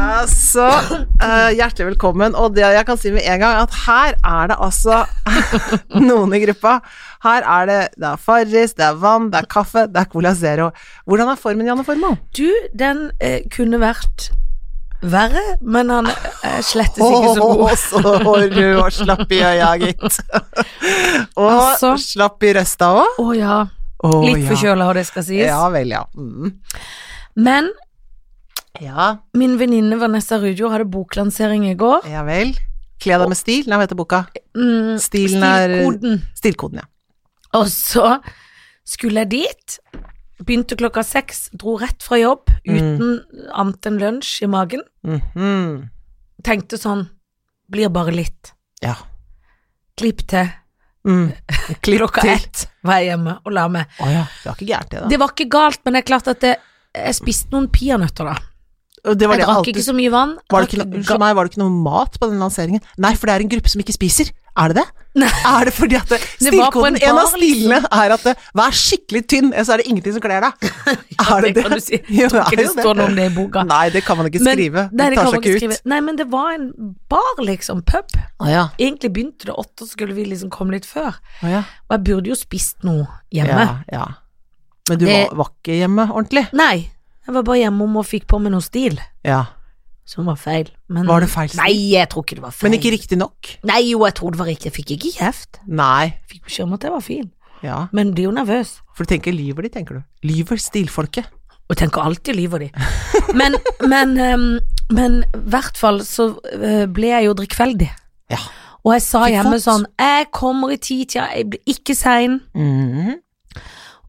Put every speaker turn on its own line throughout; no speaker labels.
Altså, eh, hjertelig velkommen. Og det jeg kan si med en gang, at her er det altså noen i gruppa. Her er det det er Farris, det er vann, det er kaffe, det er Cola Zero. Hvordan er formen, Janne Formoe?
Du, den eh, kunne vært verre, men han er slettes ikke så god.
Å, så rød og slapp i øya, gitt. Og
Altså.
slapp i røsta òg.
Å ja. Litt forkjøla, og det skal sies.
Ja vel, ja. Mm.
Men
Ja,
min venninne Vanessa Rudjo hadde boklansering i går.
ja vel. Kle deg med stil. Nei, hva heter boka?
Mm,
Stilen er
Stilkoden.
Stilkoden, ja.
Og så skulle jeg dit. Begynte klokka seks, dro rett fra jobb
Mm.
uten annet enn lunsj i magen.
Mhm.
Tenkte sånn Blir bare litt.
Ja.
Klipp til.
Mm. Klipp
Klokka
til.
ett var jeg hjemme og la meg.
Å ja, det var ikke gærent det, da.
Det var ikke galt, men det er klart at det, jeg spiste noen peanøtter, da.
Og det var
Jeg
det
drakk
alltid-
ikke så mye vann.
var det, ikke,
Drakk
noe- unnskyld meg, var det ikke noe mat på den lanseringen? Nei, for det er en gruppe som ikke spiser. Er det det?
Nei.
Er det fordi at det,
Det var på en
stilkoden, en av
bar, liksom.
stilene er at det, vær skikkelig tynn, ellers er det ingenting som kler deg. er
det kan du si.
Jo,
Jeg tror
er
ikke det
jo
står noe om det i boka.
Nei, det kan man ikke
Men-
skrive.
Nei,
det tar
kan man
seg
ikke
ikke
skrive.
ut.
Nei, men det var en bar, liksom. Pub.
Å ja.
Egentlig begynte det åtte, så skulle vi liksom komme litt før.
Å ja.
Og jeg burde jo spist noe hjemme.
ja, ja. Men du
Det-
var, var ikke hjemme ordentlig?
Nei, jeg var bare hjemme om og fikk på meg noe stil.
Ja.
Som var feil. Men...
Var det feil stil?
Nei, jeg tror ikke det var feil.
Men ikke riktig nok?
Nei, jo, jeg tror det var riktig. Jeg fikk ikke kjeft.
Nei.
Jeg Fikk beskjed om at jeg var fin.
Ja.
Men blir jo nervøs.
For du tenker lyver de, tenker du. Lyver stilfolket.
Og tenker alltid lyver de. Men, men, ehm, men i hvert fall så eh, ble jeg jo drikkfeldig.
Ja.
Og jeg sa
Fy
hjemme
flott.
sånn Jeg kommer i titida, jeg blir ikke sein.
Mhm.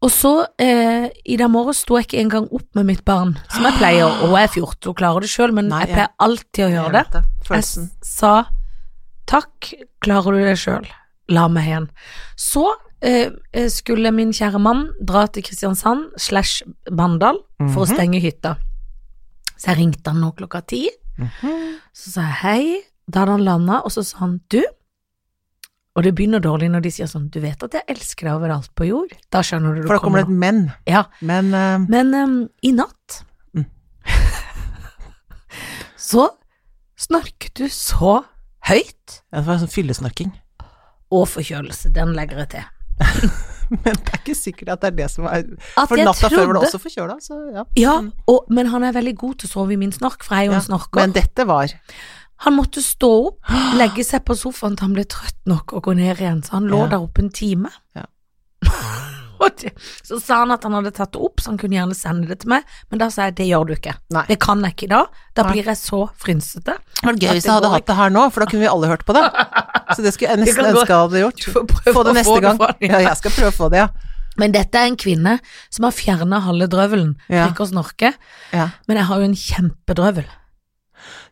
Og så eh, i den morgen sto jeg ikke engang opp med mitt barn, som jeg pleier. Og jeg er 14 og klarer det sjøl, men
Nei,
jeg
jeg-
pleier alltid å gjøre det.
Jeg vet
Jeg
Følelsen.
s- sa takk, klarer du det sjøl, la meg igjen. Så eh, eh, skulle min kjære mann dra til Kristiansand slash Mandal for å
Mhm.
stenge hytta. Så jeg ringte han nå klokka ti,
Mhm.
så sa jeg hei. Da hadde han landa, og så sa han du. Og det begynner dårlig når de sier sånn du vet at jeg elsker deg overalt på jord. Da skjønner du du
For da kommer det et men.
Ja.
Men eh,
Men em, i natt
Mm.
så snorket du så høyt.
det var sånn fyllesnorking.
Og forkjølelse, den legger jeg til.
Men det er ikke sikkert at det er det som er
At
For
jeg
natta før var det
trodde-
også forkjøla, så ja.
Ja, og, men han er veldig god til å sove i min snork, for jeg er jo
Ja,
en snorker.
Men dette var
Han måtte stå opp, legge seg på sofaen til han ble trøtt nok og gå ned igjen, så han lå
Ja.
der oppe en time.
Ja.
Og det- så sa han at han hadde tatt det opp, så han kunne gjerne sende det til meg, men da sa jeg det gjør du ikke.
Nei.
Det kan jeg ikke i dag. Da
Nei.
blir jeg så frynsete.
var det gøy hvis
Dette
jeg hadde
går
hatt det her nå, for da kunne vi alle hørt på det. Så det skulle jeg
Det
nesten
kan gå.
ønske jeg hadde gjort.
Du får prøve
Få det
å
neste
få det
gang.
fra dem.
Ja, jeg skal prøve å få det, ja.
Men dette er en kvinne som har fjerna halve drøvelen,
Ja.
prikker og snorke,
ja.
men jeg har jo en kjempedrøvel.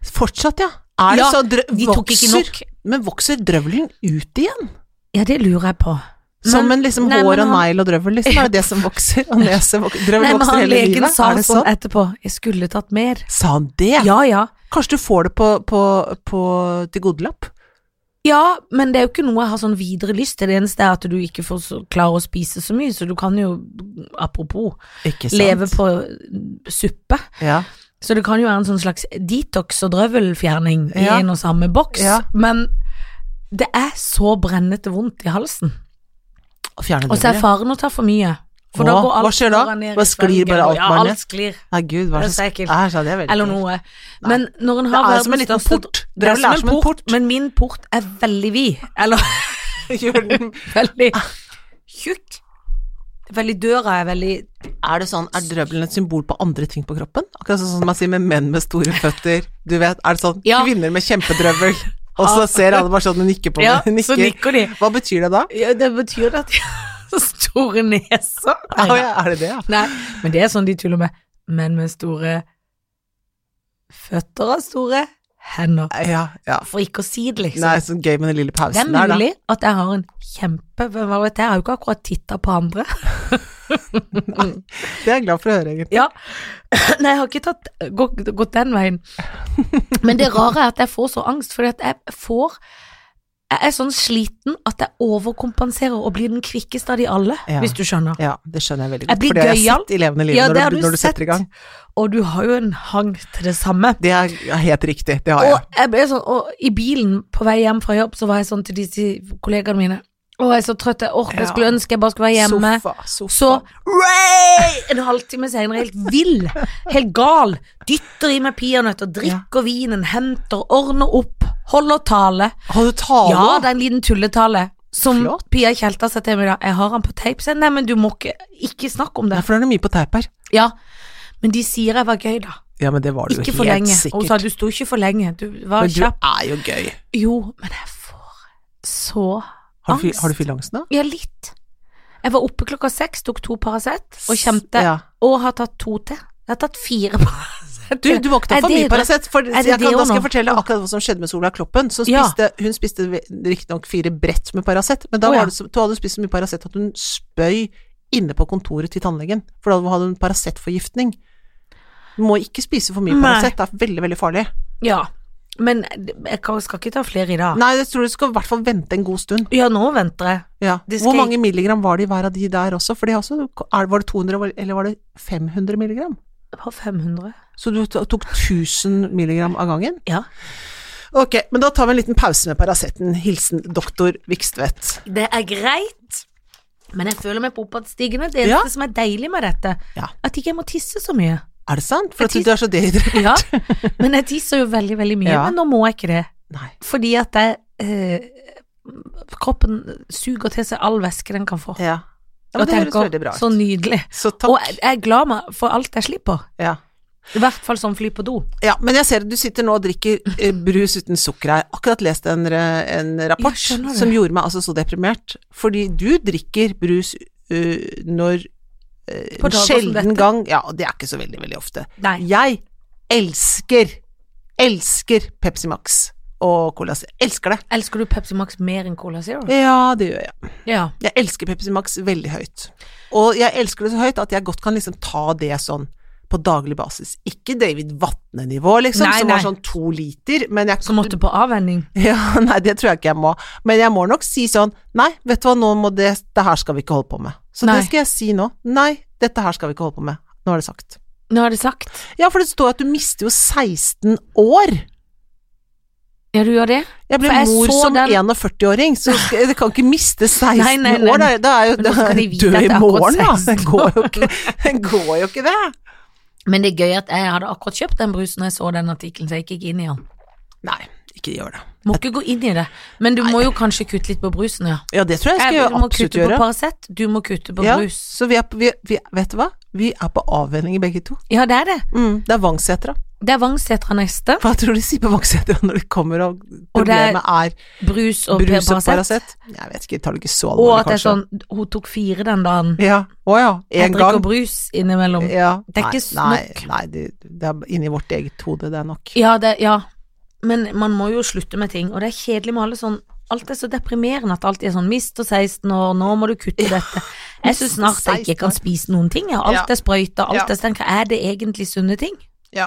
Fortsatt, ja. Er det
Ja,
så drø
de tok ikke
vokser,
nok.
Men vokser drøvelen ut igjen?
Ja, det lurer jeg på.
Som
Men-
en liksom
nei,
hår
men
og
han-
negl og drøvel, liksom. Er det det som vokser? Og nese vokser.
Nei,
Drøvel
men
vokser
han
hele
legen
livet?
sa
Er det
sånn
sånn?
etterpå, jeg skulle tatt mer.
Sa han det?
Ja, ja.
Kanskje du får det på, på, på til godelapp?
Ja, men det er jo ikke noe jeg har sånn videre lyst til. Det eneste er at du ikke får så, klarer å spise så mye, så du kan jo, apropos,
Ikke sant?
leve på mm, suppe.
Ja.
Så det kan jo være en sånn slags detox og drøvelfjerning
Ja.
i en og samme boks,
Ja.
men det er så brennete vondt i halsen.
Å fjerne
Og så er
drøvelen.
faren å ta for mye. For da
Åh,
går alt
hva skjer da?
går ned i
Hva sklir bare
svelgen, og-
alt bare
Ja,
ned?
alt sklir,
Nei, gud, hva
Det er
er
så
det
ekkelt.
som Det er veldig
eller
ekkelt.
noe. Men når en har
Det er
verdens
som en liten
største-
port. Drøvel er som en port.
Men min port er veldig vid. Eller
Gjør den-
veldig Ah, tjukk. Veldig døra er veldig
Er det sånn, er drøvelen et symbol på andre ting på kroppen? Akkurat sånn som man sier med menn med store føtter. Du vet, er det sånn
Ja.
kvinner med kjempedrøvel? Og så ser alle bare sånn og nikker på
Ja,
meg.
så nikker de.
Hva betyr det da?
ja, Det betyr at de har så store neser. Nei,
Å, ja, er det det, ja?
Nei, men det er sånn de tuller med. Menn med store føtter har store hender.
Ja, ja.
For ikke å si det, liksom.
Nei, så gøy med den lille
Det er
pausen der, da.
mulig at jeg har en kjempe Hvem vet jeg? Jeg har jo ikke akkurat titta på andre.
Det er jeg glad for å høre, egentlig.
Ja. Nei, jeg har ikke tatt, gått, gått den veien. Men det rare er at jeg får så angst, fordi at jeg får Jeg er sånn sliten at jeg overkompenserer og blir den kvikkeste av de alle,
Ja.
hvis du skjønner.
Ja, det skjønner jeg veldig
Jeg
godt.
blir
For det har jeg
gøyal.
sett i levende liv
Ja, det har
når, du,
du
når du setter i gang.
Og du har jo en hang til det samme.
Det er ja, helt riktig, det har jeg.
Og jeg ble sånn, og i bilen på vei hjem fra jobb, så var jeg sånn til de til kollegaene mine Å, jeg er så trøtt, jeg orker,
Ja.
jeg skulle ønske jeg bare skulle være hjemme.
Sofa, sofa.
Så Ray! en halvtime senere, helt vill, helt gal, dytter i meg peanøtter, drikker vinen, henter, ordner opp, holder tale.
Har du tale?
Ja, det er en liten tulletale. Som
Flott.
Pia Tjelta sa til meg da. Jeg har han på teip. sa jeg. Nei, men du må ikke Ikke snakk om
Ja,
det.
for det er mye på teip her.
Ja. Men de sier jeg var gøy, da.
Ja, men det var du jo
Ikke
helt
for lenge. Og hun sa
sikkert.
du sto ikke for lenge. Du var
Men du
kjapp.
er jo gøy.
Jo, men jeg får så
Har du, fi-
Angst.
har du fylleangst nå?
Ja, litt. Jeg var oppe klokka seks, tok to Paracet og kjente.
Ja.
Og har tatt to til. Jeg har tatt fire Paracet.
Du, du må ikke ta
Er
for
det
mye
det?
Paracet, for
det
jeg kan,
det
da
også
skal jeg
nå?
fortelle akkurat hva som skjedde med Sola Kloppen. Så
Ja.
spiste, Hun spiste riktignok fire brett med Paracet, men da
Å, ja.
var det, så- da hadde hun spist så mye Paracet at hun spøy inne på kontoret til tannlegen, for da hadde hun Paracet-forgiftning. Du må ikke spise for mye
Nei.
Paracet, det er veldig, veldig farlig.
Ja. Men jeg kan- skal ikke ta flere i dag.
Nei, jeg tror du skal i hvert fall vente en god stund.
Ja, nå venter jeg.
Ja.
Det
Hvor
skal
mange milligram var det i hver av de der også? For det er også, er- var det 200, eller var det 500 milligram?
Det var 500.
Så du to- tok 1000 milligram av gangen?
Ja.
Ok, men da tar vi en liten pause med Paraceten. Hilsen doktor Vikstvedt.
Det er greit, men jeg føler meg på oppadstigende. Det
Ja.
eneste som er deilig med dette,
Ja.
at ikke jeg må tisse så mye.
Er det sant? For
Jeg
at du er så dehydrert.
Ja, men jeg tisser jo veldig, veldig mye.
Ja.
Men nå må jeg ikke det,
Nei.
fordi at jeg eh, Kroppen suger til seg all væske den kan få.
Ja. ja men
Og
det høres
tenker,
veldig bra ut.
Så nydelig.
Så
Og
takk.
jeg, jeg er glad meg for alt jeg slipper.
Ja.
I hvert fall sånn fly på do.
ja, men jeg ser at du sitter nå og drikker eh, brus uten sukker her. Akkurat lest en, re- en rapport
Ja, skjønner du.
som gjorde meg altså så deprimert. Fordi du drikker brus eh, når eh,
På
En
dager som
sjelden
dette.
gang Ja, og det er ikke så veldig, veldig ofte.
Nei.
Jeg elsker, elsker Pepsi Max og Cola Zero. Elsker det.
Elsker du Pepsi Max mer enn Cola Zero?
Ja, det gjør jeg.
Ja.
Jeg elsker Pepsi Max veldig høyt. Og jeg elsker det så høyt at jeg godt kan liksom ta det sånn på daglig basis. Ikke David Vatne-nivå, liksom,
Nei,
som
nei.
var sånn to liter, men jeg
Så måtte på avvenning.
ja, Nei, det tror jeg ikke jeg må. Men jeg må nok si sånn Nei, vet du hva, nå må det Det her skal vi ikke holde på med. Så
Nei.
det skal jeg si nå. Nei, dette her skal vi ikke holde på med. Nå er det sagt.
Nå er det sagt.
Ja, for det står at du mister jo 16 år.
Ja, du gjør det?
Jeg ble
For jeg
mor
så
som
den-
41-åring, så skal, jeg kan ikke miste 16
Nei, nei, nei.
år. Da, da er jo
Men nå skal de vite
død
at det
i
er akkurat
morgen, da. Det
16
går jo ikke, det går jo ikke det.
Men det er gøy at jeg hadde akkurat kjøpt den brusen når jeg så den artikkelen, så jeg gikk ikke inn i den.
Nei, ikke gjør det.
Må ikke gå inn i det, men du må jo kanskje kutte litt på brusen, ja.
Ja, det tror jeg skal
Jeg-
jeg
Du må
absolutt
kutte på
gjøre.
Paracet, du må kutte på
Ja,
brus.
så vi er, på- vi, vi, vet du hva? Vi er på avvenning begge to.
Ja, det er det.
Mm, det er Vangsetra.
Det er Vangsetra neste.
Hva tror du de sier på Vangsetra når de kommer og
Og det er
problemet er,
Brus og
brus og
Paracet.
Paracet? Jeg vet ikke, jeg tar det ikke så
Og
alvorlig,
at det er sånn Hun tok fire den dagen.
Ja, å ja,
Jeg
en
drikker
gang.
brus innimellom.
Ja.
Det er
Nei,
ikke nok.
Nei, nei det, det er inni vårt eget hode, det er nok.
Ja, det, ja. Men man må jo slutte med ting, og det er kjedelig med alle sånn Alt er så deprimerende at alt er sånn Mister 16 år, nå må du kutte dette. Jeg syns snart jeg ikke kan spise noen ting. Ja. Alt
Ja.
er sprøyter, alt
Ja.
er stengt. Er det egentlig sunne ting?
Ja.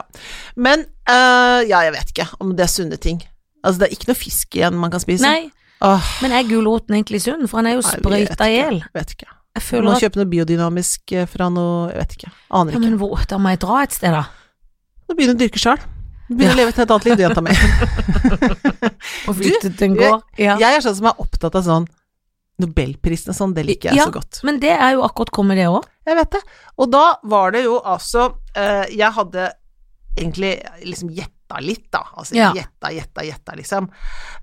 Men eh, ja, jeg vet ikke om det er sunne ting. Altså, det er ikke noe fisk igjen man kan spise.
Nei,
Åh,
men er guloten egentlig sunn? For han er jo
Liksom- nei, vi vet
sprøyta i
ikke.
hjel.
Vet ikke. Du
Jeg
må
føler at
kjøpe noe biodynamisk eh, fra noe Jeg vet ikke. Aner
ja,
ikke.
men hvor, Da må jeg dra et sted, da.
Nå begynner du å dyrke sjøl. Begynner å leve til et annet liv, du, jenta mi.
Og flytte til en
jeg-
gård. Ja.
Jeg er sånn som er opptatt av sånn Nobelprisen og sånn, det liker jeg
Ja.
så godt.
Men det er jo akkurat kommet, det òg.
Jeg vet det. Og da var det jo altså eh, Jeg hadde egentlig liksom gjetta litt, da. Altså
Ja.
gjetta, gjetta, gjetta, liksom.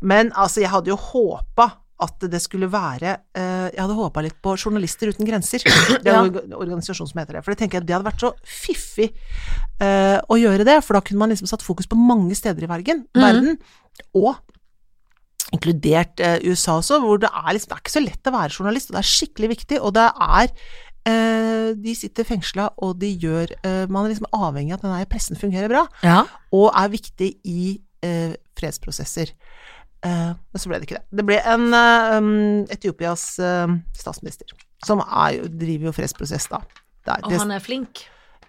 Men altså, jeg hadde jo håpa at det skulle være eh, Jeg hadde håpa litt på Journalister uten grenser. Det er
Ja.
en orga- organisasjon som heter det. For det tenker jeg det hadde vært så fiffig eh, å gjøre det, for da kunne man liksom satt fokus på mange steder i verden.
Mhm.
verden og inkludert eh, USA også, hvor det er liksom Det er ikke så lett å være journalist, og det er skikkelig viktig, og det er eh, De sitter fengsla, og de gjør eh, Man er liksom avhengig av at den her pressen fungerer bra,
Ja.
og er viktig i eh, fredsprosesser. Eh, men så ble det ikke det. Det ble en eh, um, Etiopias eh, statsminister, som er, jo- driver jo fredsprosess da. Det er,
Og
det,
han er flink.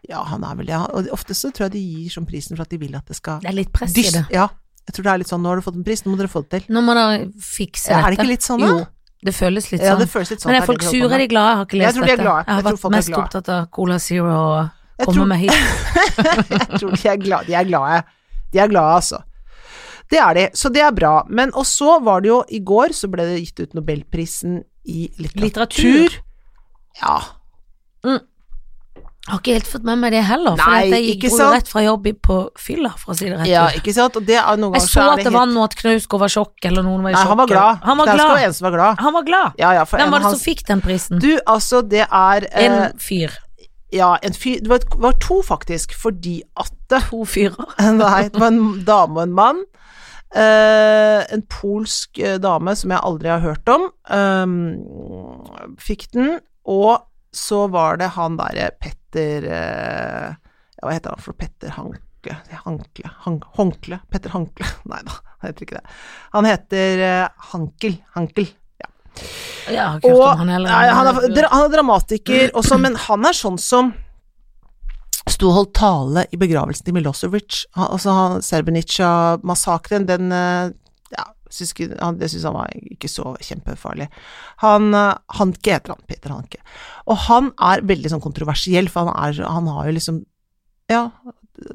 ja, han er vel det. Ja. Og ofte så tror jeg de gir som sånn prisen for at de vil at det skal
Det er litt press i
Dys-
det.
Ja, Jeg tror det er litt sånn, nå har du fått en pris, nå må dere få det til.
Nå må dere fikse
Ja,
dette.
er det ikke litt sånn, da?
Jo, det føles litt
Ja,
sånn.
det føles litt sånn.
Men er
her,
folk
det vi
sure?
holder på
Er de
med.
glade? Jeg har ikke
Jeg
lest
tror de er
dette.
glade.
Jeg har
Jeg tror
vært
folk er
mest
glade.
opptatt av Cola Zero og
Jeg
komme
tror-
meg hit.
Jeg tror de er glade. De er glade, de er glade altså. Det er de, så det er bra. Men og så var det jo i går, så ble det gitt ut Nobelprisen i litteratur.
Litteratur.
Ja.
Har ikke helt fått med meg det heller, for
Nei,
jeg
ikke
gikk jo
sant?
rett fra jobb i- på fylla, for å si det rett
ja,
ut.
ikke sant? Og det er noen ganger
Jeg så
så
at
er det
det var noe at Knausgård var sjokk, eller noen var i
Nei,
sjokk.
han var glad.
Han var
Knausgård var
glad.
en som var glad.
Han var glad.
Ja, ja, for en
Hvem var
av
det som
hans
fikk den prisen?
Du, altså, det er
En
eh,
fyr.
Ja, en fyr Det var, det var to, faktisk, fordi at det
To fyrer.
Nei, det var en dame og en mann. Eh, en polsk eh, dame som jeg aldri har hørt om, eh, fikk den. Og så var det han derre Petter eh, ja, Hva heter han for noe? Petter Hankle Hankle Han- Håndkle? Petter Hankle? Nei da, han heter ikke det. Han heter eh, Hankel. Hankel.
Jeg har ikke hørt om han heller.
Nei, han, er, dra- han er dramatiker også, men han er sånn som sto og holdt tale i begravelsen til Milosevic. Han- Altså han- Srebrenica-massakren, den eh, ja, syns ikke, han, Det syns han var ikke så kjempefarlig. Han eh, Hanke heter han, Peter Hanke. Og han er veldig sånn kontroversiell, for han, er, han har jo liksom ja,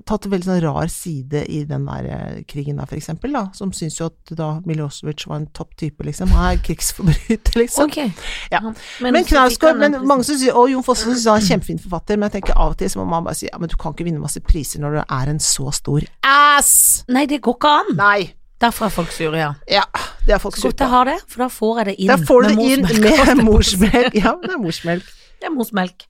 tatt en veldig sånn rar side i den der eh, krigen der, for eksempel, da, som syns jo at da Milosevic var en topp type, liksom. Han er krigsforbryter, liksom.
Ok.
Ja.
Han-
Men
så fikk han
Knausgård
den
men
prisen.
mange som sier, Og Jon Fosse syns han er en kjempefin forfatter, men jeg tenker av og til så må man bare si ja, men du kan ikke vinne masse priser når du er en så stor ass!
Nei, det går ikke an.
Nei.
Derfor er folk sure, ja.
Ja, det er folk
Så
sure
godt jeg har det, for da får jeg det inn
Da får du
med
det inn med
morsmelk.
morsmelk. Ja, det er morsmelk.
Det er morsmelk.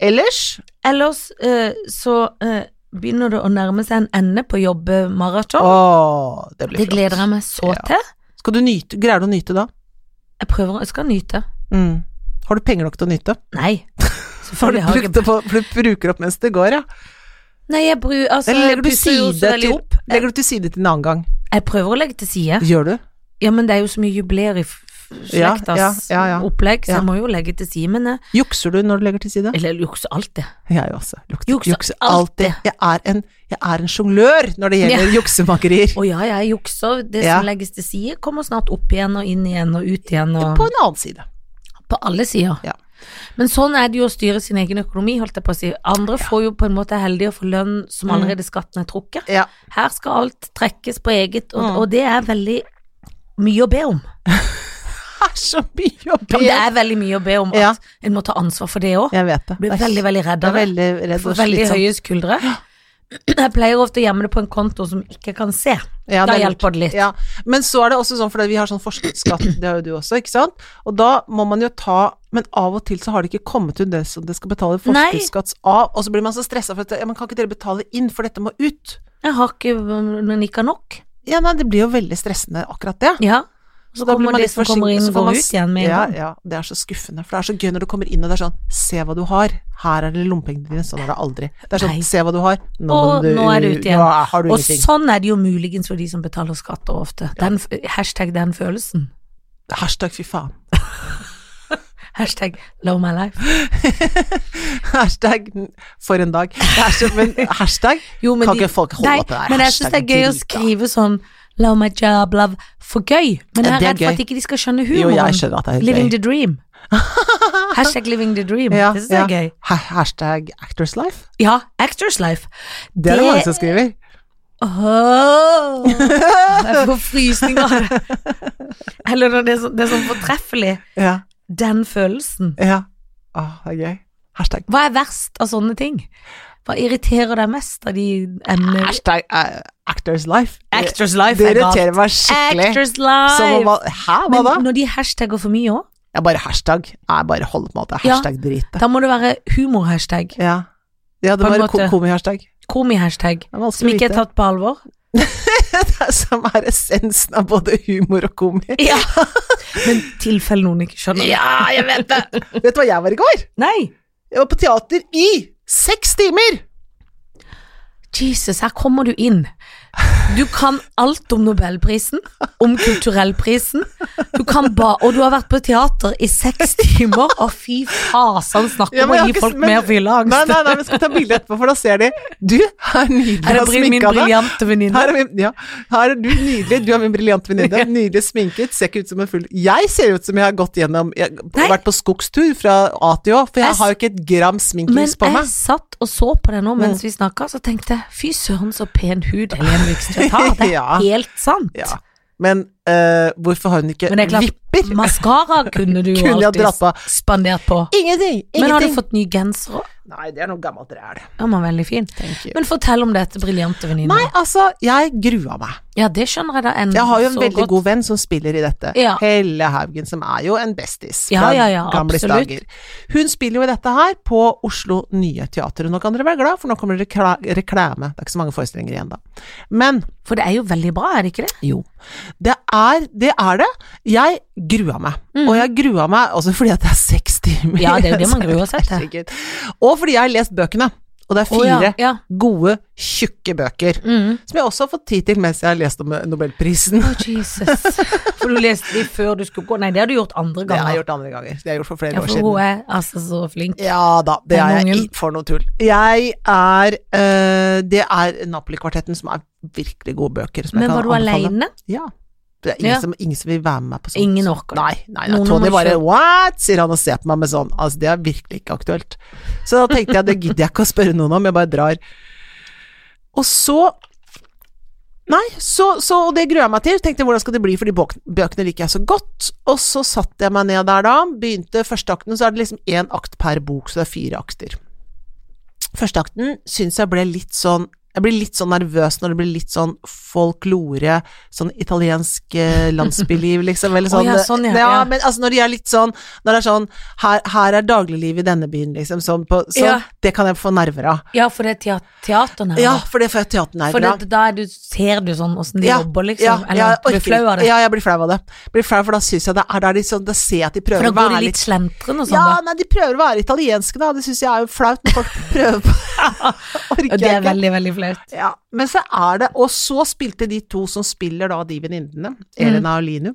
Ellers
Ellers eh, så eh, begynner det å nærme seg en ende på
Å,
jobbemaraton.
det blir
Det
flott.
gleder jeg meg så
Ja.
til.
Skal du nyte? Greier du å nyte da?
Jeg prøver, jeg skal nyte.
Mm. Har du penger nok til å nyte?
Nei.
Har du
Selvfølgelig har jeg
brukt det på, for du bruker opp mens det går, ja?
Nei, jeg bru, altså,
Eller legger
jeg
du,
pusser jo så
side
veldig
til,
opp.
legger du til side til en annen gang?
Jeg prøver å legge til side.
Gjør du?
Ja, men det er jo så mye jubileer i f- f-
Ja,
slektas
ja, ja, ja.
opplegg, så
Ja.
jeg må jo legge til side. Men jeg,
Jukser du når du legger til side?
eller jukser alltid.
Jeg også. Lukter,
Jukser
jukser,
alltid.
alltid. Jeg er en, jeg er en jonglør når det gjelder juksemakerier.
Å ja, jeg jukser. Det
Ja.
som legges til side, kommer snart opp igjen og inn igjen og ut igjen og
På en annen side.
På alle sider.
Ja.
Men sånn er det jo å styre sin egen økonomi, holdt jeg på å si. Andre får jo på en måte heldige å få lønn som allerede skatten er trukket.
Mm. Ja.
Her skal alt trekkes på eget, og,
Mm.
og det er veldig mye å be om.
Det er så mye å
Ja,
be
men det er veldig mye å be om at
Ja.
en må ta ansvar for det òg.
Jeg vet det.
Blir
Det er-
veldig, veldig redd
jeg er
av det.
veldig redd og
Får veldig
slitsom.
høye skuldre. Jeg pleier ofte å gjemme det på en konto som ikke kan se.
Ja,
da
det er lurt.
hjelper det litt.
Ja. Men så er det også sånn, for vi har sånn forskuddsskatt, det har jo du også, ikke sant? Og da må man jo ta Men av og til så har det ikke kommet ut det som det skal betale
Nei.
forskuddsskatt av, og så blir man så stressa for at ja, men kan ikke dere betale inn, for dette må ut?
Jeg har ikke mm, men ikke nok.
Ja, nei, det blir jo veldig stressende, akkurat det.
Ja. Så,
Så da blir
kommer
man
de
litt
som kommer
forsinket,
inn,
så får
går
man
ut
s-
igjen med en
ja,
gang.
ja, det er så skuffende, for det er så gøy når du kommer inn og det er sånn Se hva du har, her er det lommepengene dine, sånn er det aldri. Det er sånn
Nei.
Se hva du har, nå, må
Og
du,
nå er det ut igjen.
Nå har du
Og
ingenting.
sånn er det jo muligens for de som betaler skatter ofte. Den, f- hashtag den følelsen.
Hashtag fy faen.
Hashtag love my life.
Hashtag for en dag. Det er så, men hashtag
Jo, men
Kan
de-
ikke folk holde
nei,
på det der
Men jeg syns det er gøy å
hashtag-drita?
skrive sånn love my job, love for gøy. Men jeg
Ja,
er
det er
redd for
gøy.
at ikke de skal skjønne
Jo,
humoren.
jeg skjønner at det er
Living
gøy.
the dream. Hashtag living the dream.
Ja,
det syns jeg
ja.
er gøy.
Ha- Hashtag actors life.
Ja, actors life.
Det er det mange som skriver.
Åh, Jeg får frysninger av det. Eller når det er så- det er sånn fortreffelig.
Ja,
Den følelsen.
ja. Å, det er gøy. Hashtag
Hva er verst av sånne ting? Hva irriterer deg mest av de emnene?
Hashtag eh, actors life.
Actors life
det
er galt.
irriterer meg skikkelig.
Actors life!
Som om man- Hæ, hva da?
Men når de hashtagger for mye òg,
Jeg bare hashtag. Jeg bare holder på med at det er
Ja.
hashtag-drit.
da må det være humorhashtag,
Ja. ja, det
På en
var
måte.
ko- komi-hashtag.
komihashtag,
Det er vanskelig
som
å
ikke er
vite.
tatt på alvor.
Det er som er essensen av både humor og komi.
Ja. Men tilfelle noen ikke skjønner.
Ja, jeg vet det! vet du hva jeg var i går?
Nei!
Jeg var på teater i seks timer!
Jesus, her kommer du inn. Du kan alt om Nobelprisen, om kulturellprisen. Du kan ba, og du har vært på teater i seks timer, og fy fasan, snakk
Ja,
om
men jeg
å
har
gi
ikke-
folk
men-
mer fylleangst.
Nei, nei, nei, vi skal ta bilde etterpå, for da ser de Du er
Her
nydelig
er
og
bri- min
sminka deg.
briljante venninne.
Her er, min, ja, her er du nydelig, du er min briljante venninne. Nydelig sminket, ser ikke ut som en full Jeg ser ut som jeg har gått gjennom Jeg
Nei.
har vært på skogstur fra A til Å, for
Jeg
jeg
s-
har jo ikke et gram
Men
sminklys på
jeg
meg. Mm.
satt og så på det nå mens vi snakka, så tenkte jeg fy søren så pen hud Helene Vikstvedt har. Det er
Ja.
helt sant.
Ja. Men eh, hvorfor har hun ikke
Men det er klart,
vipper?
maskara kunne du jo
Kunne jeg dratt på.
alltid spandert på.
Ingenting! ingenting.
Men har du fått ny genser òg?
Nei, det er noe gammelt ræl.
Den var veldig fin.
Thank you.
Men fortell om dette briljante venninna.
Nei, altså, jeg grua meg.
Ja, det skjønner jeg da enn
Jeg har jo en
så
veldig
godt.
god venn som spiller i dette.
Ja.
Helle Haugen, som er jo en bestis
Ja, ja, ja,
gamles
absolutt.
dager. Hun spiller jo i dette her på Oslo Nye Teater, og nå kan dere være glad, for nå kommer det rekla reklame. Det er ikke så mange forestillinger igjen da. Men
For det er jo veldig bra, er det ikke det?
jo, det er det. Er det. Jeg grua meg, og jeg grua meg også fordi at det er seks timer.
Mhm. Ja, det er jo det man
så
gruer seg til.
sikkert. Og fordi jeg har lest bøkene, og det er
Å,
fire
ja, ja.
gode, tjukke bøker.
Mm.
Som jeg også har fått tid til mens jeg har lest om eh, Nobelprisen.
Å, Jesus. For du leste de før du skulle gå. Nei, det har du gjort andre
Det har
ganger.
jeg gjort andre ganger. Det har jeg gjort for flere
ja,
år
for
siden.
hun er altså så flink.
Ja da, det
Den
er jeg
ungen.
i- for noe tull. Jeg er eh, Det er Napoli-kvartetten som er virkelig gode bøker. Som
Men
jeg kan
var du
anbefale.
aleine?
Ja. Det er ingen,
Ja.
som, ingen som vil være med meg på sånt.
Ingen orker det.
Nei, nei, nei.
Noen
Tony
må
bare
kjøpe.
what, sier han og ser på meg med sånn. Altså, det er virkelig ikke aktuelt. Så da tenkte jeg, det gidder jeg ikke å spørre noen om, jeg bare drar. Og så Nei, så, så og det gruer jeg meg til. Tenkte jeg, hvordan skal det bli, for de bok- bøkene liker jeg så godt. Og så satte jeg meg ned der da, begynte første akten, så er det liksom én akt per bok, så det er fire akter. Første akten syns jeg ble litt sånn jeg blir litt sånn nervøs når det blir litt sånn folklore, sånn italiensk eh, landsbyliv, liksom. Eller
Å,
sånn,
ja, sånn, ja, ja.
men altså når de er litt sånn Når det er sånn Her, her er dagliglivet i denne byen, liksom. Sånn på sånn,
Ja.
Det kan jeg få nerver av.
Ja, for det er tea- teater nærmere.
Ja, for det får jeg
For
teaternerver av.
det, da er du, ser du sånn åssen de jobber, liksom? Eller
jeg
at du blir
orker
flau av
ikke.
det?
Ja, jeg blir flau av det. Blir flau, for da syns jeg det er, da er de sånn, da ser jeg at de
for
prøver
da
å
går de
være
litt
litt
slentrende og sånn,
Ja, nei, de prøver å være italienske, da. Det syns jeg er jo flaut når folk prøver på Orker
da. Og det
jeg
er
ikke.
veldig, veldig flaut.
Ja, men så er det Og så spilte de to som spiller da de venninnene,
Mm.
Elena og Linu.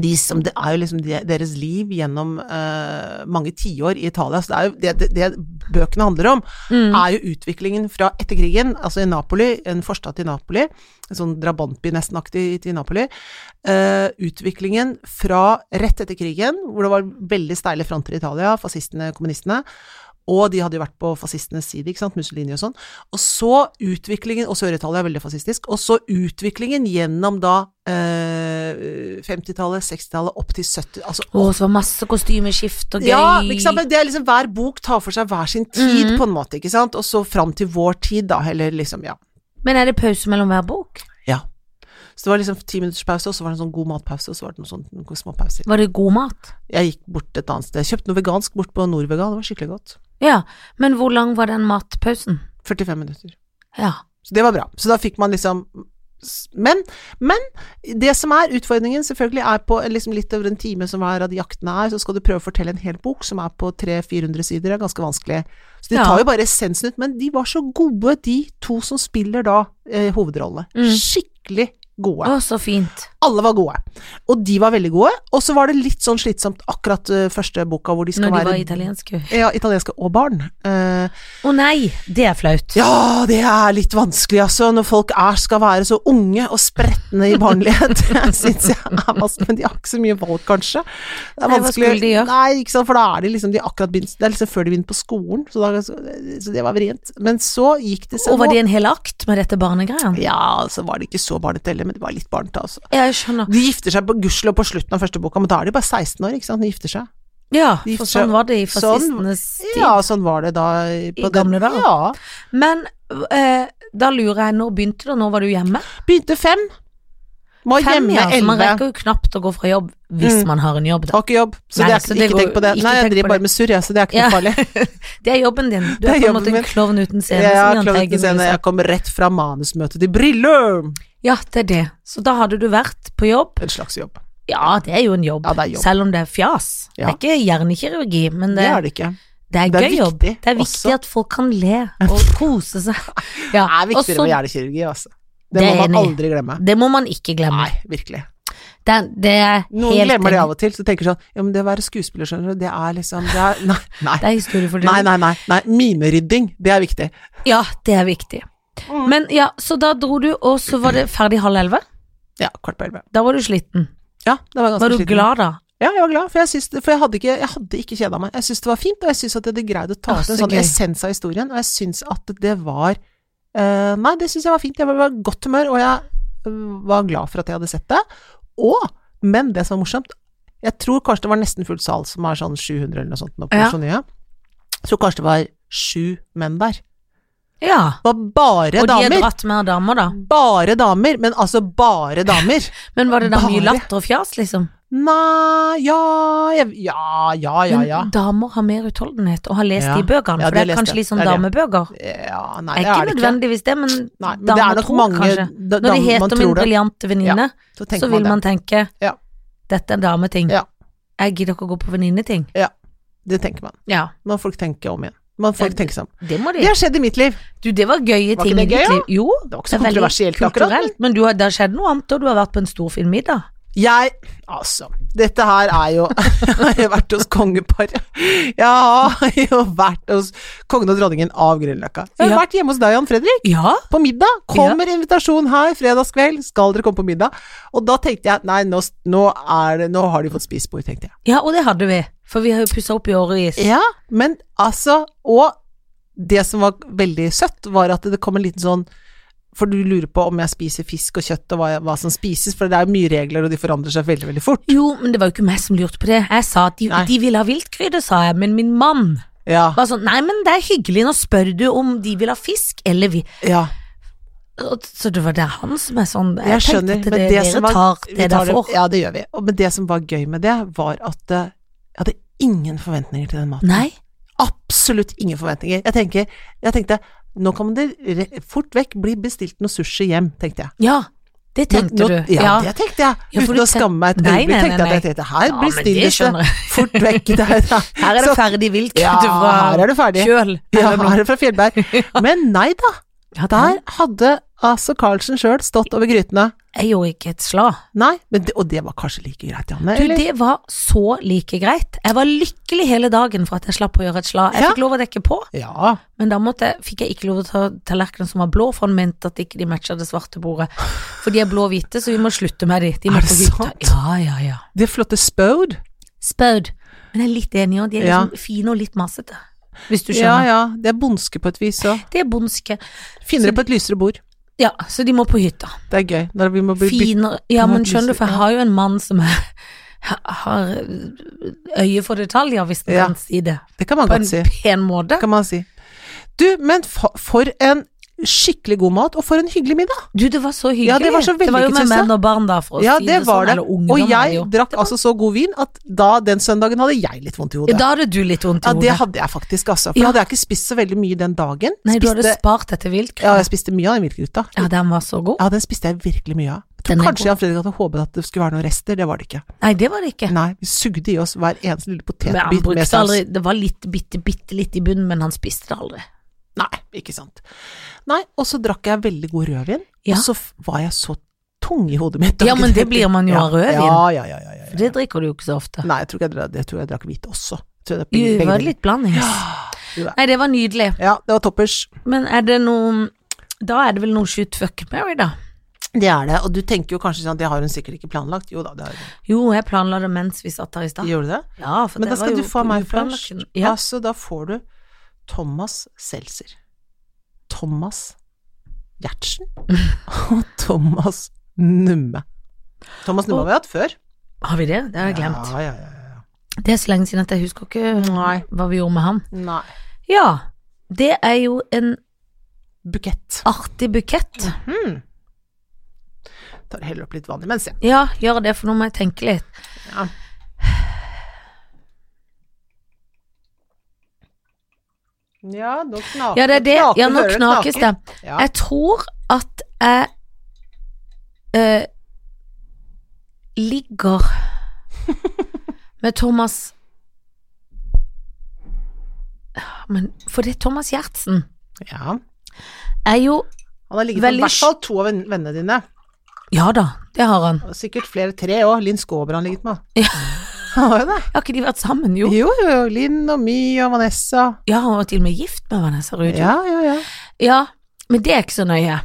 De som, det er jo liksom de, deres liv gjennom eh, mange tiår i Italia. Så det, er jo, det, det, det bøkene handler om,
Mm.
er jo utviklingen fra etter krigen, altså i Napoli, en forstad til Napoli, en sånn drabantby nestenaktig til Napoli. eh, utviklingen fra rett etter krigen, hvor det var veldig steile fronter i Italia, fascistene, kommunistene. Og de hadde jo vært på fascistenes side, ikke sant, Mussolini og sånn. Og så utviklingen, og Sør-Italia er veldig fascistisk, og så utviklingen gjennom da eh, 50-tallet, 60-tallet, opp til 70 altså,
Å, så var det masse kostymeskift og gøy.
ja, ikke sant? men det er liksom hver bok tar for seg hver sin tid, på en måte, ikke sant, og så fram til vår tid, da, eller liksom, ja.
Men er det pause mellom hver bok?
ja. Så det var liksom ti minutters pause, og så var det en sånn god matpause, og så var det noen sånne noen små pauser.
Var det god mat?
Jeg gikk bort et annet sted, jeg kjøpte noe vegansk bort på Nordvegan, det var skikkelig godt.
Ja, men hvor lang var den matpausen?
45 minutter.
Ja.
Så det var bra. Så da fikk man liksom men, men det som er utfordringen, selvfølgelig, er på liksom litt over en time som hver av de jaktene er, så skal du prøve å fortelle en hel bok som er på 300-400 sider, det er ganske vanskelig. Så de
Ja.
tar jo bare essensen ut, men de var så gode, de to som spiller da eh, hovedrollene.
Mm.
Skikkelig gode.
Å, så fint.
Alle var gode, og de var veldig gode. Og så var det litt sånn slitsomt akkurat eh, første boka hvor de skal
Når de
være
var italienske. Å
ja, italienske og barn. Eh,
nei, det er flaut.
ja, det er litt vanskelig, altså, når folk er, skal være så unge og spretne i barnlighet. Det syns jeg er vanskelig, men de har ikke så mye valg, kanskje. Det er
Nei, hva
vanskelig.
skulle de gjøre?
Nei, ikke sant, for da er de liksom de har akkurat begynt, det er liksom før de begynner på skolen, så, da, så, så det var vrient. Men så gikk det seg
Og var det en hel akt med dette barnegreia?
Ja, så var det ikke så barnete heller, men det var litt barnete, altså.
Ja, jeg skjønner.
De gifter seg på gudskjelov på slutten av første boka, men da er de bare 16 år, ikke sant, de gifter seg.
Ja,
De gifter
for
seg-
sånn var det i
Sånn-
fascistenes tid.
Ja, sånn var det da. I
gamle dager.
Ja.
Men eh, da lurer jeg, når begynte det? Når var du hjemme?
Begynte fem. Må
Fem,
hjemme
ja. Så man
elleve.
rekker jo knapt å gå fra jobb hvis
Mm.
man har en jobb, da.
Har ikke jobb, så,
Nei,
det er,
så
ikke
det går-
tenk på det.
ikke
Nei, jeg
tenk på
driver
det.
bare med surr, jeg, så det er ikke
Ja.
noe farlig.
Det er jobben din. Du
Det
er,
er
på en
jobben
måte
min.
en klovn uten scene.
Jeg,
som altså.
har
Jahn
klovnet
Teigen
til scenen,
ville
jeg kom rett fra manusmøtet til Brillum!
sagt. Ja, det er det. Så da hadde du vært på jobb.
En slags jobb.
Ja, det er jo en jobb.
Ja, det er jobb.
Selv om det er fjas. Det
Ja.
er ikke hjernekirurgi, men
Det
det,
er det ikke.
det er
Det er
gøy jobb.
viktig
Det er viktig
også.
at folk kan le og kose seg. Ja,
Det er
og
viktigere
så-
med hjernekirurgi, altså. Det
Det
må
er
man
enig i.
aldri glemme.
Det må man ikke glemme.
Nei, virkelig.
Det, det er
Noen
helt
glemmer det
enig.
av og til, så tenker sånn Ja, men det å være skuespiller, skjønner du, det er liksom det er, Nei, nei.
Det er historiefortelling.
Nei, nei, nei, nei. Mimerydding, det er viktig.
Ja, det er viktig.
Mm.
Men ja, så da dro du, og så var det ferdig halv elleve.
Ja, kvart på elleve.
Da var du sliten.
Ja, det var ganske
Var du
sliten.
glad da?
Ja, jeg var glad, for jeg, syns, det- for jeg hadde ikke, jeg hadde ikke kjeda meg. Jeg syns det var fint, og jeg syns at jeg hadde greid å ta
Å,
ut en
Ah,
sånn
så gøy.
essens av historien, og jeg syns at det var eh, Nei, det syns jeg var fint. Jeg var i godt humør, og jeg eh, var glad for at jeg hadde sett det. Og, men det som var morsomt Jeg tror kanskje det var nesten fullt sal, som er sånn 700 eller noe sånt nå på
Ja.
Oslo Nye. Jeg tror kanskje det var sju menn der.
Ja.
Det var bare
Og de har
damer.
dratt mer damer, da.
Bare damer, men altså bare damer.
Men var det da mye
Bare?
latter og fjas, liksom?
Nei, ja, jeg- ja, ja, ja, ja.
Men damer har mer utholdenhet og har lest
Ja.
de bøkene,
Ja, de
for det
har
er
lest
kanskje
det.
litt sånn
Det er det.
damebøker.
Ja,
Det
nei,
er
det
ikke
er det ikke.
nødvendigvis det, men
Nei, men det er
damer
nok
tror
mange
kanskje.
da,
Når de
damer- man
heter
tror
min
det,
briljante venninne,
så tenker
så vil
det.
man tenke
Ja.
dette er dameting.
Ja.
Jeg gidder ikke å gå på venninneting.
Det tenker man.
Ja,
Man får ikke tenke om igjen. Man får
Ja,
ikke tenke seg om.
det må de.
Det har skjedd i mitt liv.
Du, det var gøye
Var ikke
ting
det
i ditt
gøy,
liv. Jo,
Det var ikke så
er veldig
kontroversielt akkurat,
kulturelt, Men du har, det har skjedd noe annet, og du har vært på en stor fin middag.
Jeg Altså, dette her er jo Jeg har vært hos kongeparet. Jeg har jo vært hos kongen og dronningen av Grünerløkka. Jeg har
Ja.
vært hjemme hos deg, Jan Fredrik.
Ja,
På middag. Kommer invitasjon her fredagskveld. Skal dere komme på middag? Og da tenkte jeg nei, nå, nå, er det, nå har de fått spisebord, tenkte jeg.
ja og det hadde vi. For vi har jo pussa opp i årevis.
Ja, men altså Og det som var veldig søtt, var at det kom en liten sånn For du lurer på om jeg spiser fisk og kjøtt, og hva, hva som spises, for det er jo mye regler, og de forandrer seg veldig, veldig fort.
Jo, men det var jo ikke meg som lurte på det. Jeg sa at de,
Nei.
de ville ha viltkrydder, sa jeg, men min mann
Ja,
var sånn Nei, men det er hyggelig, nå spør du om de vil ha fisk eller vi
ja.
Og- Så det var det er han som er sånn Jeg,
Jeg
tenkte
skjønner,
at
men
det,
det, som var
dere tar
vi
det
tar
dere får.
Ja, det gjør vi. Og, men det som var gøy med det, var at eh, jeg hadde ingen forventninger til den maten.
Nei.
Absolutt ingen forventninger. Jeg, tenker, jeg tenkte nå kan det re- fort vekk bli bestilt noe sushi hjem, tenkte jeg.
Ja, det tenkte
Nå-
du.
nå- Ja, det tenkte jeg.
Ja, for
Uten
du
å skamme meg et
ten- Nei,
øyeblikk.
nei, nei,
tenkte jeg at
nei.
dette her
Ja,
blir
men det skjønner
stilleste
jeg.
fort vekk. Det her,
Her er det
Så-
ferdig
Ja,
viltkrydder fra
her er det ferdig.
Kjøl.
Ja,
eller noe.
her er det fra Fjellberg. Men nei da,
Ja,
der hadde altså Carlsen sjøl stått over grytene.
Jeg gjorde ikke et slag.
Nei, men det, og det var kanskje like greit, Janne?
Du,
eller?
det var så like greit. Jeg var lykkelig hele dagen for at jeg slapp å gjøre et slag. Jeg
Ja.
fikk lov å dekke på,
Ja.
men da måtte jeg, fikk jeg ikke lov å ta tallerkenen som var blå, for han mente at ikke de matcha det svarte bordet. For de er blå og hvite, så vi må slutte med de. de må
Er det
på hytta.
sant?
Ja, ja, ja.
Det flotte Spode.
Spød. Men jeg er litt enig, og de er
Ja.
liksom fine og litt masete. Hvis du
Ja
skjønner.
ja, det er bondske på et vis òg.
Det er bondske.
Finner det på et lysere bord.
Ja, så de må på hytta.
Det er gøy. Når vi må bli bytt
Finere Ja,
Ja,
men
et
skjønner du,
lyse-
for jeg
ja.
har jo en mann som er, har øye for detaljer, hvis en
Ja.
kan si det.
Det kan man
På
godt si.
en pen måte.
Kan man si. Du, men fa- for en skikkelig god mat, og for en hyggelig middag.
Du, det var så hyggelig.
Ja, det var så
jo
vellykket,
med
synes jeg.
menn og barn, da, for å
Ja,
si
det var
sånn.
det.
Eller unge,
Og
da var det
jeg
jo.
drakk altså så god vin at da den søndagen hadde jeg litt vondt i
Ja,
hodet.
Da hadde du litt vondt i
Ja, det
hodet.
hadde jeg faktisk, altså. For
Ja.
da hadde jeg ikke spist så veldig mye den dagen.
Nei, du hadde
spiste,
spart etter viltkrydder.
ja, jeg spiste mye av den viltgryta.
Ja, den var så god.
Ja, den spiste jeg virkelig mye av. Jeg tror
Den er
Kanskje Jan Fredrik hadde håpet at det skulle være noen rester, det var det ikke.
Nei, det var det ikke.
Nei, vi sugde i oss hver eneste lille
Men han
potetbit med
brukte
saus.
aldri Det var litt, bitte, bitte litt i bunnen, men han spiste det aldri.
Nei, ikke sant. Nei, og så drakk jeg veldig god rødvin,
Ja.
og så f- var jeg så tung i hodet mitt.
Ja, men det blir man jo av rødvin.
Ja, ja, ja, ja, ja, ja.
Det drikker du jo ikke så ofte.
Nei, jeg tror, ikke jeg, drakk- jeg tror jeg drakk hvit også. Jeg tror jeg drakk
Jo,
begge
det var
deler.
litt blandings.
det var-
Nei, det var nydelig.
Ja, det var toppers.
Men er det noe Da er det vel noe shoot fuck Mary, da.
Det er det, og du tenker jo kanskje sånn at det har hun sikkert ikke planlagt. Jo da, det har hun.
Jo, jeg planla det mens vi satt her i stad.
Gjorde du det?
Ja, for
Men
det
da skal
var
du
jo
få av meg
uplanlagt.
først.
Ja.
Altså, da får du Thomas Seltzer. Thomas Gjertsen og Thomas Numme. Thomas Numme har vi hatt før.
Har vi det? Det har jeg glemt.
Ja, ja, ja, ja.
Det er så lenge siden at jeg husker ikke øh,
Nei.
hva vi gjorde med han.
Nei.
Ja, det er jo en
Bukett.
artig bukett.
Tar heller opp litt vann imens, jeg.
Ja, gjør det, for nå må jeg tenke litt.
Ja. Ja, nå knaker
Ja, det er det.
knaker,
Ja, nå
hører du
knakes det.
Ja.
Jeg tror at jeg eh, ligger med Thomas Men for det Thomas Gjertsen
Ja,
er jo
Han har ligget
Veldig
med i hvert fall to av venn- vennene dine.
Ja da, det har han.
Og sikkert flere tre òg. Linn Skåber har han ligget med. Han har jo det.
Har ikke de vært sammen, jo?
Jo, jo, jo. Linn og My og Vanessa.
Ja, han var til og med gift med Vanessa Rudi.
Ja, ja, ja.
Ja, men det er ikke så nøye.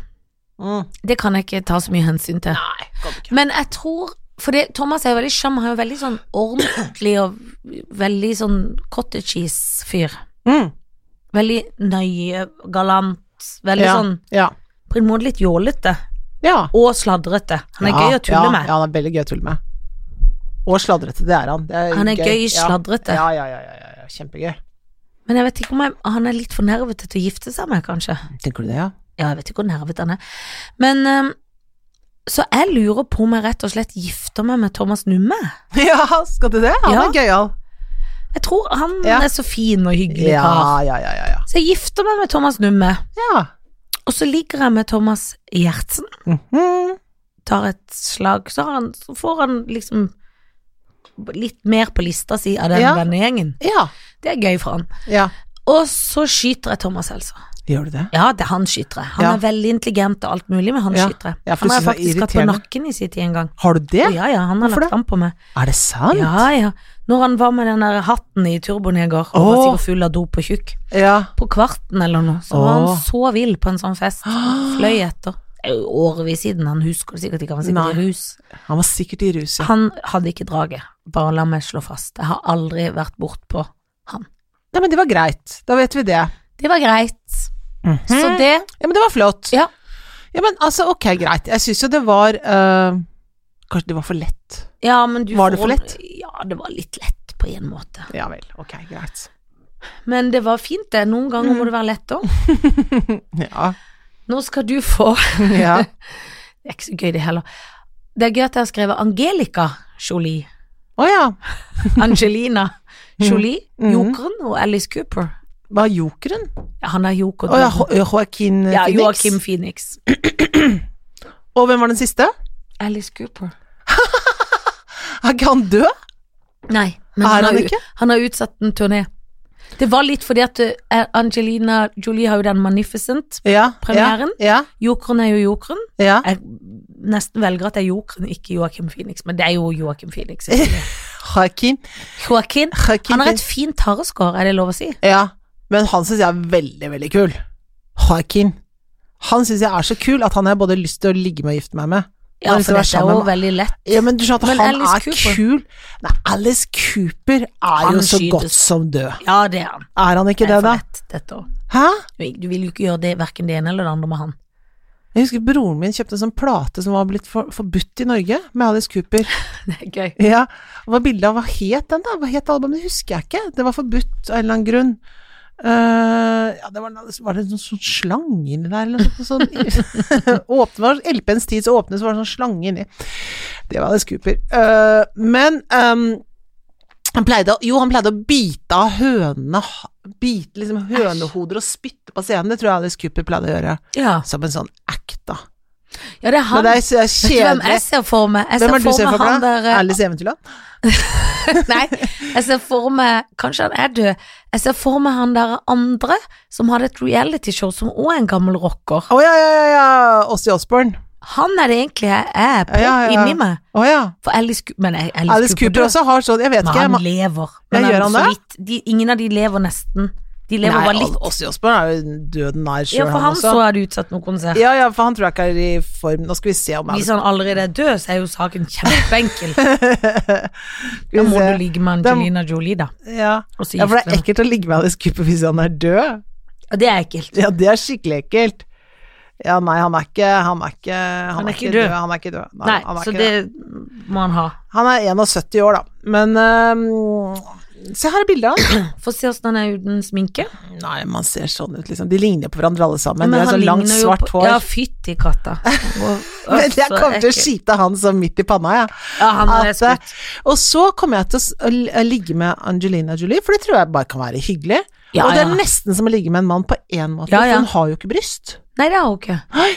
Mm.
Det kan jeg ikke ta så mye hensyn til.
Nei, kan du ikke.
Men jeg tror For det, Thomas er jo veldig skjønn, han er jo veldig sånn ordentlig og veldig sånn cottage cheese-fyr.
Mm.
Veldig nøye, galant, veldig
Ja,
sånn
ja.
på en måte litt jålete
ja.
og sladrete. Han er
Ja,
gøy å tulle
ja,
med.
Ja, han er veldig gøy å tulle med. Og sladrete, det er han. Det er
Han er gøy, sladrete.
Ja, ja, ja, ja, ja, ja. kjempegøy.
Men jeg vet ikke om jeg, han er litt for nervete til å gifte seg med, kanskje.
Tenker du det, ja?
Ja, jeg vet ikke hvor nervete han er. Men eh, så jeg lurer på om jeg rett og slett gifter meg med Thomas Numme.
Ja, skal du det? Han
Ja.
er gøyal.
Jeg tror han
Ja.
er så fin og hyggelig
Ja,
kar.
ja, ja, ja, ja.
Så jeg gifter meg med Thomas Numme,
ja.
og så ligger jeg med Thomas Gjertsen.
Mhm.
Tar et slag, så, har han, så får han liksom litt mer på lista si av den
Ja.
vennegjengen.
ja.
Det er gøy for han.
Ja.
Og så skyter jeg Thomas Helser.
Gjør du det?
Ja, det er han skyter jeg. Han
Ja.
er veldig intelligent og alt mulig, men han
Ja.
skyter jeg.
Ja, for
han
du
har
synes han er
faktisk hatt på
irriterende.
nakken i sin tid en gang.
Har du det?
Ja, ja, han har
Hvorfor det?
lagt an på meg.
Er det sant?
Ja, ja. Når han var med den der hatten i Turboneger, og var
Åh.
sikkert full av dop og tjukk.
Ja.
på kvarten eller noe, så var
Åh.
han så vill på en sånn fest. Fløy etter. Det er jo årevis siden, han husker det sikkert ikke, han var sikkert
Nei.
i rus.
Han var sikkert i rus, ja.
Han hadde ikke draget, bare la meg slå fast. Jeg har aldri vært bortpå han.
Nei, men det var greit. Da vet vi det.
Det var greit. Så
Mhm.
det
Ja, men det var flott.
Ja.
Ja, men altså, ok, greit. Jeg syns jo det var øh, Kanskje det var for lett.
Ja, men du
Var det
får-
for lett?
Ja, det var litt lett på en måte.
Ja vel. Ok, greit.
Men det var fint, det. Noen ganger
Mm.
må det være lett òg.
Ja.
Nå skal du få
ja.
Det er ikke så gøy, det heller. Det er gøy at jeg har skrevet Angelica Jolie.
Å ja.
Angelina Jolie,
Mhm.
Jokeren og Alice Cooper.
Hva er jokeren?
Ja, han er Joker.
Å ja, Jo- Joaquin
ja,
Eh, Phoenix.
Joakim Phoenix.
Og hvem var den siste?
Alice Cooper.
Er ikke han død?
Nei,
Er
han,
han
har,
ikke?
u- han har utsatt en turné. Det var litt fordi at eh, Angelina Jolie har jo den Magnificent.
Ja.
Premieren?
Ja.
Jokeren er jo jokeren.
ja, ja.
Jeg nesten velger at det er jokeren, ikke Joakim Phoenix, men det er jo Joakim Phoenix. selvfølgelig.
Joaquin.
Joaquin.
Joaquin
Han har
Phoenix.
et fint harreskår, er det lov å si?
Ja, men han syns jeg er veldig, veldig kul. Joaquin. Han syns jeg er så kul at han har både lyst til å ligge med og gifte meg med.
Ja,
Han har lyst til å være
for dette er
sammen
jo
med-
veldig lett.
Ja, men du skjønner at
Men
han
Alice
er
Cooper.
kul. Nei, Alice Cooper er
Han
jo så
skytes.
godt som død.
Ja, det er han.
Er han ikke
Det
det,
er for
da?
lett, dette også.
Hæ?
Du vil jo ikke gjøre det, hverken det ene eller det andre med han.
Jeg husker broren min kjøpte en sånn plate som var blitt for, forbudt i Norge, med Alice Cooper.
Det er gøy.
Ja, og hva bildet av hva het den da? Hva het albumet? Det husker jeg ikke. Det var forbudt av en eller annen grunn. Eh, ja, det var, var det noen sånn slange inni der, eller noe sånt? Sånn, åpne, var LP-ens tid, så åpnet, så var det sånn slange inni. Det var Alice Cooper. Eh, men ehm, han pleide, å- jo, han pleide å bite av hønene, bite liksom hønehoder og spytte på scenen. Det tror jeg Alice Cooper pleide å gjøre,
Ja,
som en sånn act, da.
ja det er
Men
han.
det er, det er
Vet du hvem jeg
kjedelig.
ser for meg? Jeg
Hvem er det du ser for
han
deg?
der eh,
Alice Eventyrland?
Nei, jeg ser for meg Kanskje han er død. Jeg ser for meg han der andre som hadde et realityshow som òg er en gammel rocker.
Å ja, ja, ja, ja. Åssi Osborn.
Han er det egentlig jeg er på
Ja, ja, ja.
inni meg.
Å ja.
For Alice, Coo- men Alice,
Alice Cooper også har sånn, jeg vet
Men
ikke.
han
man-
lever.
Ja,
Men
gjør han
han, så vidt, de, ingen av de lever nesten. De lever bare litt.
Åssi Osborn er jo døden nær sjøl,
Ja, for han
altså,
så
også.
er det utsatt noen konsert.
Ja, altså. ja, for han tror jeg ikke er i form. Nå skal vi se om
Hvis
Alice
han allerede er død, så er jo saken kjempeenkel.
Skal
Da
vi
må du
se.
ligge med
Da-
Angelina Jolie, da.
Ja.
Og så
ja, for det
gifte
er
deg.
ekkelt å ligge med Alice Cooper hvis han er død.
Ja, Det er ekkelt.
Ja, det er skikkelig ekkelt. Ja, nei, han er ikke Han er ikke,
Han er ikke død.
Han er ikke død. Nei,
Nei,
han er
så
ikke
det må han ha.
Han er 71 år, da. Men ehm, Se, her er bildet av han.
Få se åssen han er uten sminke.
Nei, man ser sånn ut, liksom. De ligner på hverandre alle sammen. De
Men
har
han
så langt,
ligner jo
svart
på-
hår.
Ja, fytti katta. Og-
Men jeg
så
kommer til å
ekkelt.
skite han sånn midt i panna, jeg.
Ja, han
At,
er
eh,
skutt.
og så kommer jeg til å s- å l- å ligge med Angelina Jolie, for det tror jeg bare kan være hyggelig.
Ja,
og det er
ja.
nesten som å ligge med en mann på én måte,
Ja, ja.
for hun har jo ikke bryst.
Nei, det er hun ikke.
Nei.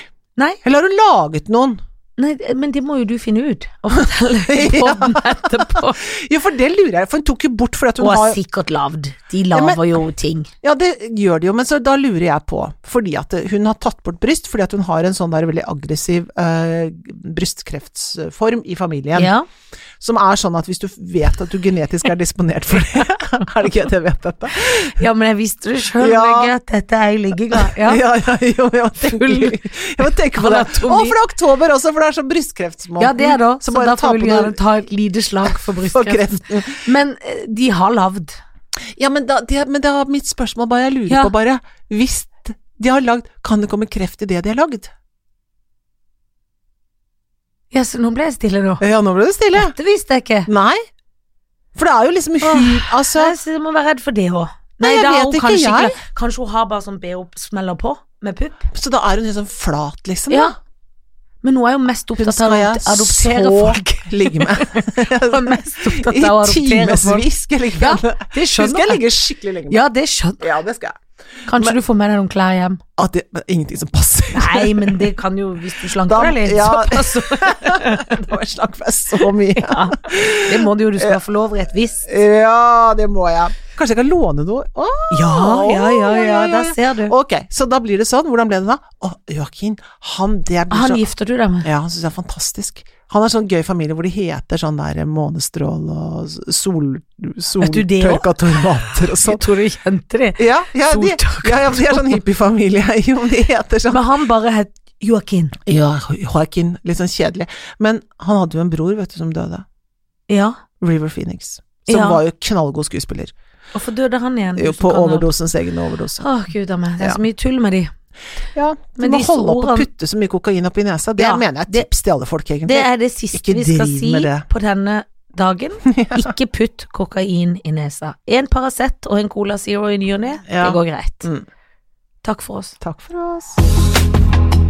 Nei.
Eller har hun laget noen?
Nei, men det må jo du finne ut, og fortelle i podden etterpå.
Jo, for det lurer jeg, for hun tok jo bort fordi at hun
Og
har
sikkert lavd. De
Ja,
laver
men-
jo ting.
Ja, det gjør det jo, men så da lurer jeg på, fordi at eh, hun har tatt bort bryst, fordi at hun har en sånn der veldig aggressiv eh, brystkreftform i familien,
Ja.
som er sånn at hvis du vet at du genetisk er disponert for det, er det ikke at jeg vet dette?
ja, men jeg visste det sjøl,
Ja.
Vegge, at dette er ei liggegrad. Ja.
ja, ja jo, jeg tenker,
Full
jeg må tenke på det. Å,
anatomi.
for det er oktober også, for det er sånn brystkreftmåned.
ja, det er det. Så,
bare ta
derfor vil
på
vi
noe-
gjerne ta et lite slag for
for
brystkreft.
kreften.
Men eh, de har lavd.
Ja, men da, det, men da mitt spørsmål bare, jeg lurer
Ja.
på bare, hvis de har lagd, kan det komme kreft i det de har lagd?
Ja, så nå ble jeg stille nå.
Ja, nå ble det stille.
Det visste jeg ikke.
Nei. For det er jo liksom hu... Altså
Nei, så jeg må være redd for det òg.
Nei, jeg
da har
vet
hun
ikke,
kanskje
jeg.
ikke- Kanskje hun har bare sånn BH smeller på med pupp.
Så da er hun helt sånn flat, liksom.
Ja. Men hun er jo mest
Hun
opptatt av
skal
å
jeg
adoptere
så
folk.
ligge med.
Hun er mest opptatt
I
av å adoptere folk.
timevis skal jeg ligge
Ja,
med henne.
det
Hun
skjønner
skal
jeg.
ligge skikkelig lenge med
Ja, det skjønner
Ja, det skal jeg.
Kanskje du får med deg noen klær hjem.
At det, men ingenting som passer.
Nei, men det kan jo Hvis du slanker
Da-
deg litt,
ja.
så passer
Nå har jeg snakket meg så mye.
ja. Det må du jo, du skal få lov rett visst.
Ja, det må jeg. Kanskje jeg kan låne noe? Åh,
Ja, ja, ja, ja,
ja, ja,
der
ja.
ser du.
Ok, så da blir det sånn. Hvordan ble det da? Å, Joakim, han det blir
Han
så
gifter du deg med.
Ja, han syns jeg er fantastisk. Han har sånn gøy familie hvor de heter sånn der månestrål og sol,
du det også?
soltørka tomater og sånn.
tror du kjente det.
Ja, ja, de,
Soltørka
ja, ja, de er sånn hippiefamilie. Jo, de heter sånn
Men han bare het Joakim.
Ja, Joaquin. Litt sånn kjedelig. Men han hadde jo en bror, vet du, som døde.
Ja.
River Phoenix. Som
Ja.
var jo knallgod skuespiller.
Hvorfor døde han igjen?
Jo,
du som
på
kan alt?
overdosens egen overdose.
Å, gud a meg. Det er
Ja.
så mye tull med de.
Ja, du
Men
må
disse
holde opp å
ordene-
putte så mye kokain opp i nesa. Det
Ja,
mener jeg er
det-
tips til alle folk, egentlig.
Det er det siste
Ikke
vi skal
driv
si
med det.
på denne dagen. Ikke putt kokain i nesa. En Paracet og en Cola Zero i ny og ne,
Ja.
det går greit.
Mm.
Takk for oss.
Takk for oss.